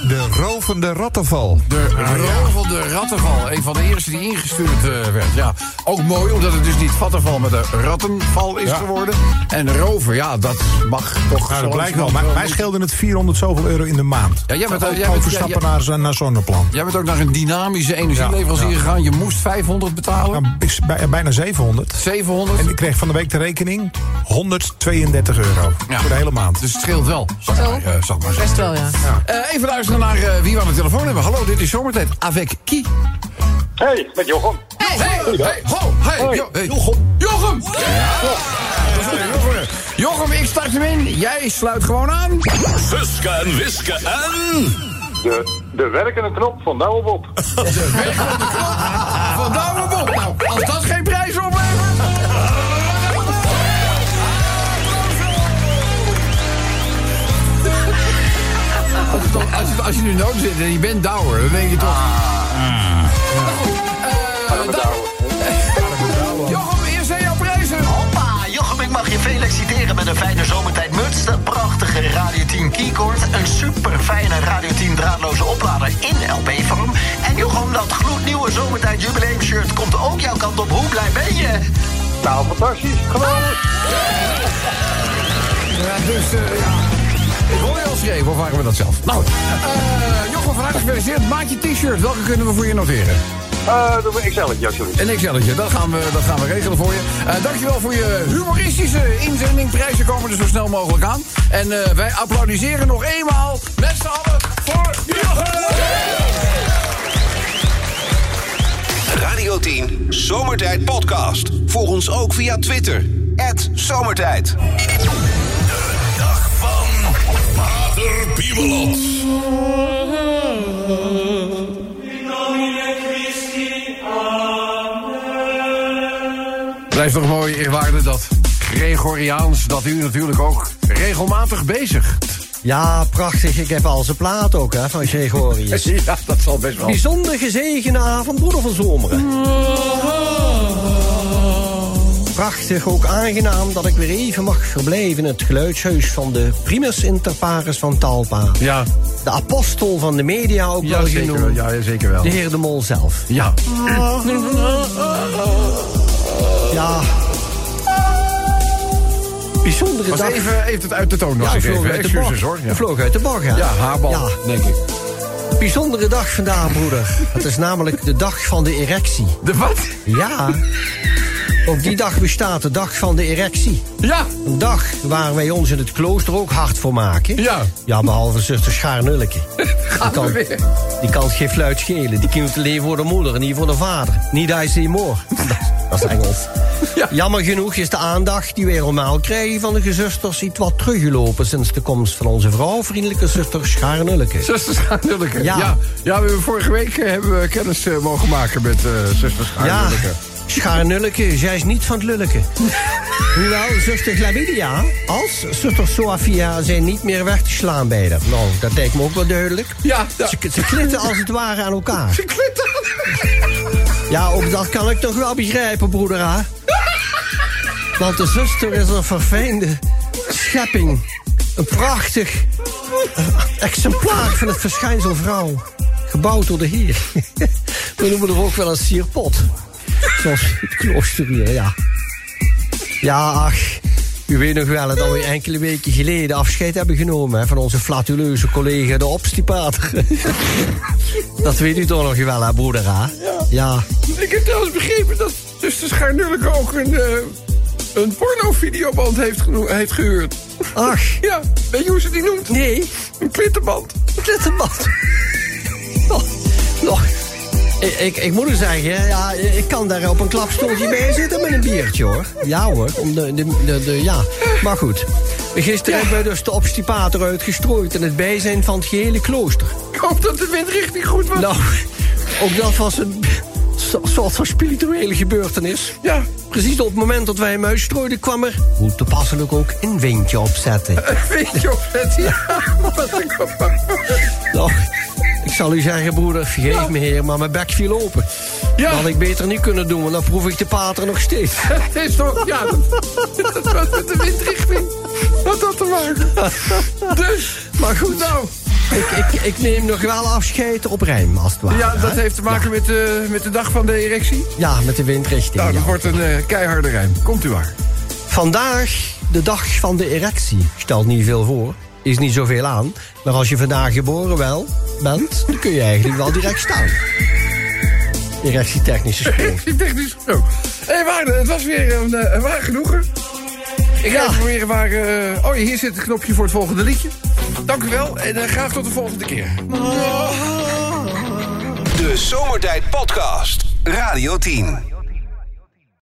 [SPEAKER 5] De rovende rattenval.
[SPEAKER 4] Nou,
[SPEAKER 2] De rovende rattenval. Een van de eerste die ingestuurd eh, werd. Ja, ook mooi, omdat het dus niet vattenval, maar de rattenval is geworden. En roven, ja, dat mag toch.
[SPEAKER 4] Nou,
[SPEAKER 2] zo
[SPEAKER 4] dat blijkt wel.
[SPEAKER 2] langzamerhand
[SPEAKER 4] Mij, mij
[SPEAKER 2] niet.
[SPEAKER 4] scheelde het 400 zoveel euro in de maand.
[SPEAKER 2] Ja, jij bent ook-
[SPEAKER 4] ook
[SPEAKER 2] jij bent-
[SPEAKER 4] overstappen
[SPEAKER 2] jij-
[SPEAKER 4] naar, zo- naar zonneplan.
[SPEAKER 2] Jij bent ook naar een dynamische energieleverancier gegaan. Je moest 500 betalen.
[SPEAKER 4] Nou, is bij- bijna 700.
[SPEAKER 2] 700.
[SPEAKER 4] En ik kreeg van de week de rekening 132 euro.
[SPEAKER 2] Ja.
[SPEAKER 4] Voor de hele maand.
[SPEAKER 2] Dus het scheelt wel. Zal
[SPEAKER 7] Zo.
[SPEAKER 2] ik maar, eh, zal ik maar zeggen.
[SPEAKER 7] Best wel, ja.
[SPEAKER 2] Eh, even luisteren naar eh, wie we aan de telefoon hebben. Hallo, dit is Zomertijd. Avec qui?
[SPEAKER 11] Hey, met Jochem.
[SPEAKER 2] Hey, hey, hey, ho, hey, jo- hey. Jochem. Jochem! Jochem. Jochem, ik start hem in. Jij sluit gewoon aan.
[SPEAKER 9] Suske en Wiske en...
[SPEAKER 11] De, de werkende knop van Douwe Bob.
[SPEAKER 2] Van Douwe Bob. Nou, als dat geen prijs oplevert... Als je, toch- als je- als je nu nood zit en je bent douwer, dan denk je toch... Nou goed, eh,
[SPEAKER 11] Arme Douwe.
[SPEAKER 2] Jochem, eerst aan jouw prijzen.
[SPEAKER 12] Hoppa, Jochem, ik mag je feliciteren met een fijne zomertijdmuts. Een prachtige Radio 10 keycord. Een super fijne Radio 10 draadloze oplader in LP-vorm. En Jochem, dat gloednieuwe zomertijd jubileumshirt komt ook jouw kant op. Hoe blij ben je?
[SPEAKER 11] Nou, fantastisch. Geweldig.
[SPEAKER 2] Ja, dus eh, ja. Ik hoor je al schreeuwen, of waren we dat zelf? Nou, eh Jochem, van harte gefeliciteerd. Maak je t-shirt. Welke kunnen we voor je noteren?
[SPEAKER 11] Eh, doe een XL-tje alsjeblieft.
[SPEAKER 2] Een XL'tje, dat gaan we, dat gaan we regelen voor je. Eh, dankjewel voor je humoristische inzending. Prijzen komen er zo snel mogelijk aan. En eh, wij applaudisseren nog eenmaal met z'n allen voor Jochem!
[SPEAKER 1] Radio 10 Zomertijd Podcast. Volg ons ook via Twitter. Zomertijd.
[SPEAKER 9] Dag van Pater Piemelot.
[SPEAKER 2] Blijft toch mooi, eerwaarde, dat Gregoriaans, dat u natuurlijk ook regelmatig bezig.
[SPEAKER 13] Ja, prachtig. Ik heb al zijn plaat ook hè, van Gregorius.
[SPEAKER 2] ja, dat zal best wel.
[SPEAKER 13] Bijzonder gezegende avond, broeder van Zomeren. Prachtig, ook aangenaam dat ik weer even mag verblijven in het geluidshuis van de primus inter pares van Talpa.
[SPEAKER 2] Ja.
[SPEAKER 13] De apostel van de media ook
[SPEAKER 2] Ja,
[SPEAKER 13] wel
[SPEAKER 2] zeker
[SPEAKER 13] genoemd.
[SPEAKER 2] wel. Ja, ja, zeker wel.
[SPEAKER 13] De heer de Mol zelf.
[SPEAKER 2] Ja.
[SPEAKER 13] Ja. Bijzondere
[SPEAKER 2] Was
[SPEAKER 13] dag.
[SPEAKER 2] even, even het uit de toon nog
[SPEAKER 13] Ja,
[SPEAKER 2] eens
[SPEAKER 13] vloog
[SPEAKER 2] even.
[SPEAKER 13] uit de
[SPEAKER 2] Excuses
[SPEAKER 13] bocht.
[SPEAKER 2] hoor.
[SPEAKER 13] Hij vloog uit de bocht, ja.
[SPEAKER 2] Ja, haarbal,
[SPEAKER 13] Ja.
[SPEAKER 2] denk ik.
[SPEAKER 13] Bijzondere dag vandaag, broeder. Het is namelijk de dag van de erectie.
[SPEAKER 2] De wat?
[SPEAKER 13] Ja. Op die dag bestaat de dag van de erectie.
[SPEAKER 2] Ja.
[SPEAKER 13] Een dag waar wij ons in het klooster ook hard voor maken.
[SPEAKER 2] Ja.
[SPEAKER 13] Ja, behalve zuster Schaarnulleke. Die kan, die kan het geen fluit schelen. Die kan te leven voor de moeder en niet voor de vader. Niet hij is moor. Dat is Engels. Jammer genoeg is de aandacht die wij normaal krijgen van de gezusters... iets wat teruggelopen sinds de komst van onze vrouwvriendelijke zuster Schaarnulleke.
[SPEAKER 2] Zuster Schaarnulleke. Ja.
[SPEAKER 13] Ja.
[SPEAKER 2] Ja. we hebben vorige week eh, hebben we kennis eh, mogen maken met eh zuster
[SPEAKER 13] Ja,
[SPEAKER 2] Schaarnulleke.
[SPEAKER 13] Schaarnulleke, zij is niet van het lulleke. Hoewel zuster Glavidia als zuster Sophia zijn niet meer weg te slaan bij haar. Nou, dat lijkt me ook wel duidelijk.
[SPEAKER 2] Ja, ja.
[SPEAKER 13] Ze, ze klitten als het ware aan elkaar. Ja, ook dat kan ik toch wel begrijpen, broeder hè? Want de zuster is een verfijnde schepping. Een prachtig eh, exemplaar van het verschijnsel vrouw. Gebouwd door de heer. We noemen er ook wel een sierpot. Zoals het klooster hier, ja. Ja, ach. U weet nog wel dat we enkele weken geleden afscheid hebben genomen... Hè, van onze flatuleuze collega de obstipater. dat weet u toch nog wel, hè, broeder, hè? ja.
[SPEAKER 2] Ik heb trouwens begrepen dat zuster Schaarnulleke ook een, eh, een pornovideoband heeft, geno- heeft gehuurd.
[SPEAKER 13] Ach.
[SPEAKER 2] Ja, weet je hoe ze die noemt?
[SPEAKER 13] Nee.
[SPEAKER 2] Een klittenband.
[SPEAKER 13] Klittenband. Nog, nog. Ik, ik, ik moet u zeggen, ja, ik kan daar op een klapstoeltje bij zitten met een biertje hoor. Ja hoor, om de, de, de, de- ja. Maar goed, gisteren hebben we dus de obstipator uitgestrooid... in het bijzijn van het gehele klooster.
[SPEAKER 2] Ik hoop dat de windrichting goed was.
[SPEAKER 13] Nou, ook dat was een so- soort van spirituele gebeurtenis.
[SPEAKER 2] Ja.
[SPEAKER 13] Precies op het moment dat wij hem uitstrooiden kwam er... Eh, hoe toepasselijk ook, een windje opzetten.
[SPEAKER 2] Weet je of het ja, wat ik op-
[SPEAKER 13] Nou, ik zal u zeggen, broeder, vergeef me heer, maar mijn bek viel open.
[SPEAKER 2] Ja.
[SPEAKER 13] Dat had ik beter niet kunnen doen, want dan proef ik de pater nog steeds.
[SPEAKER 2] Het is toch, ja, dat, dat was met de windrichting. Wat had te maken. Dus,
[SPEAKER 13] Maar goed,
[SPEAKER 2] nou,
[SPEAKER 13] ik, ik, ik neem nog wel afscheid op Rijm, als het ware.
[SPEAKER 2] ja, dat
[SPEAKER 13] hè?
[SPEAKER 2] heeft te maken met, eh, met de dag van de erectie.
[SPEAKER 13] Ja, met de windrichting.
[SPEAKER 2] Nou, dat
[SPEAKER 13] ja.
[SPEAKER 2] wordt een eh, keiharde rijm. Komt u maar.
[SPEAKER 13] Vandaag, de dag van de erectie. Stelt niet veel voor, is niet zoveel aan. Maar als je vandaag geboren wel bent, dan kun je eigenlijk wel direct staan. Erectietechnische school.
[SPEAKER 2] Die technisch. Hé, hey, Waarde, het was weer een, eh, een waar genoegen. Ik ga
[SPEAKER 13] Ja.
[SPEAKER 2] even proberen waar... eh, oh, hier zit het knopje voor het volgende liedje. Dank u wel en eh, graag tot de volgende keer.
[SPEAKER 1] De Zomertijd Podcast. Radio 10.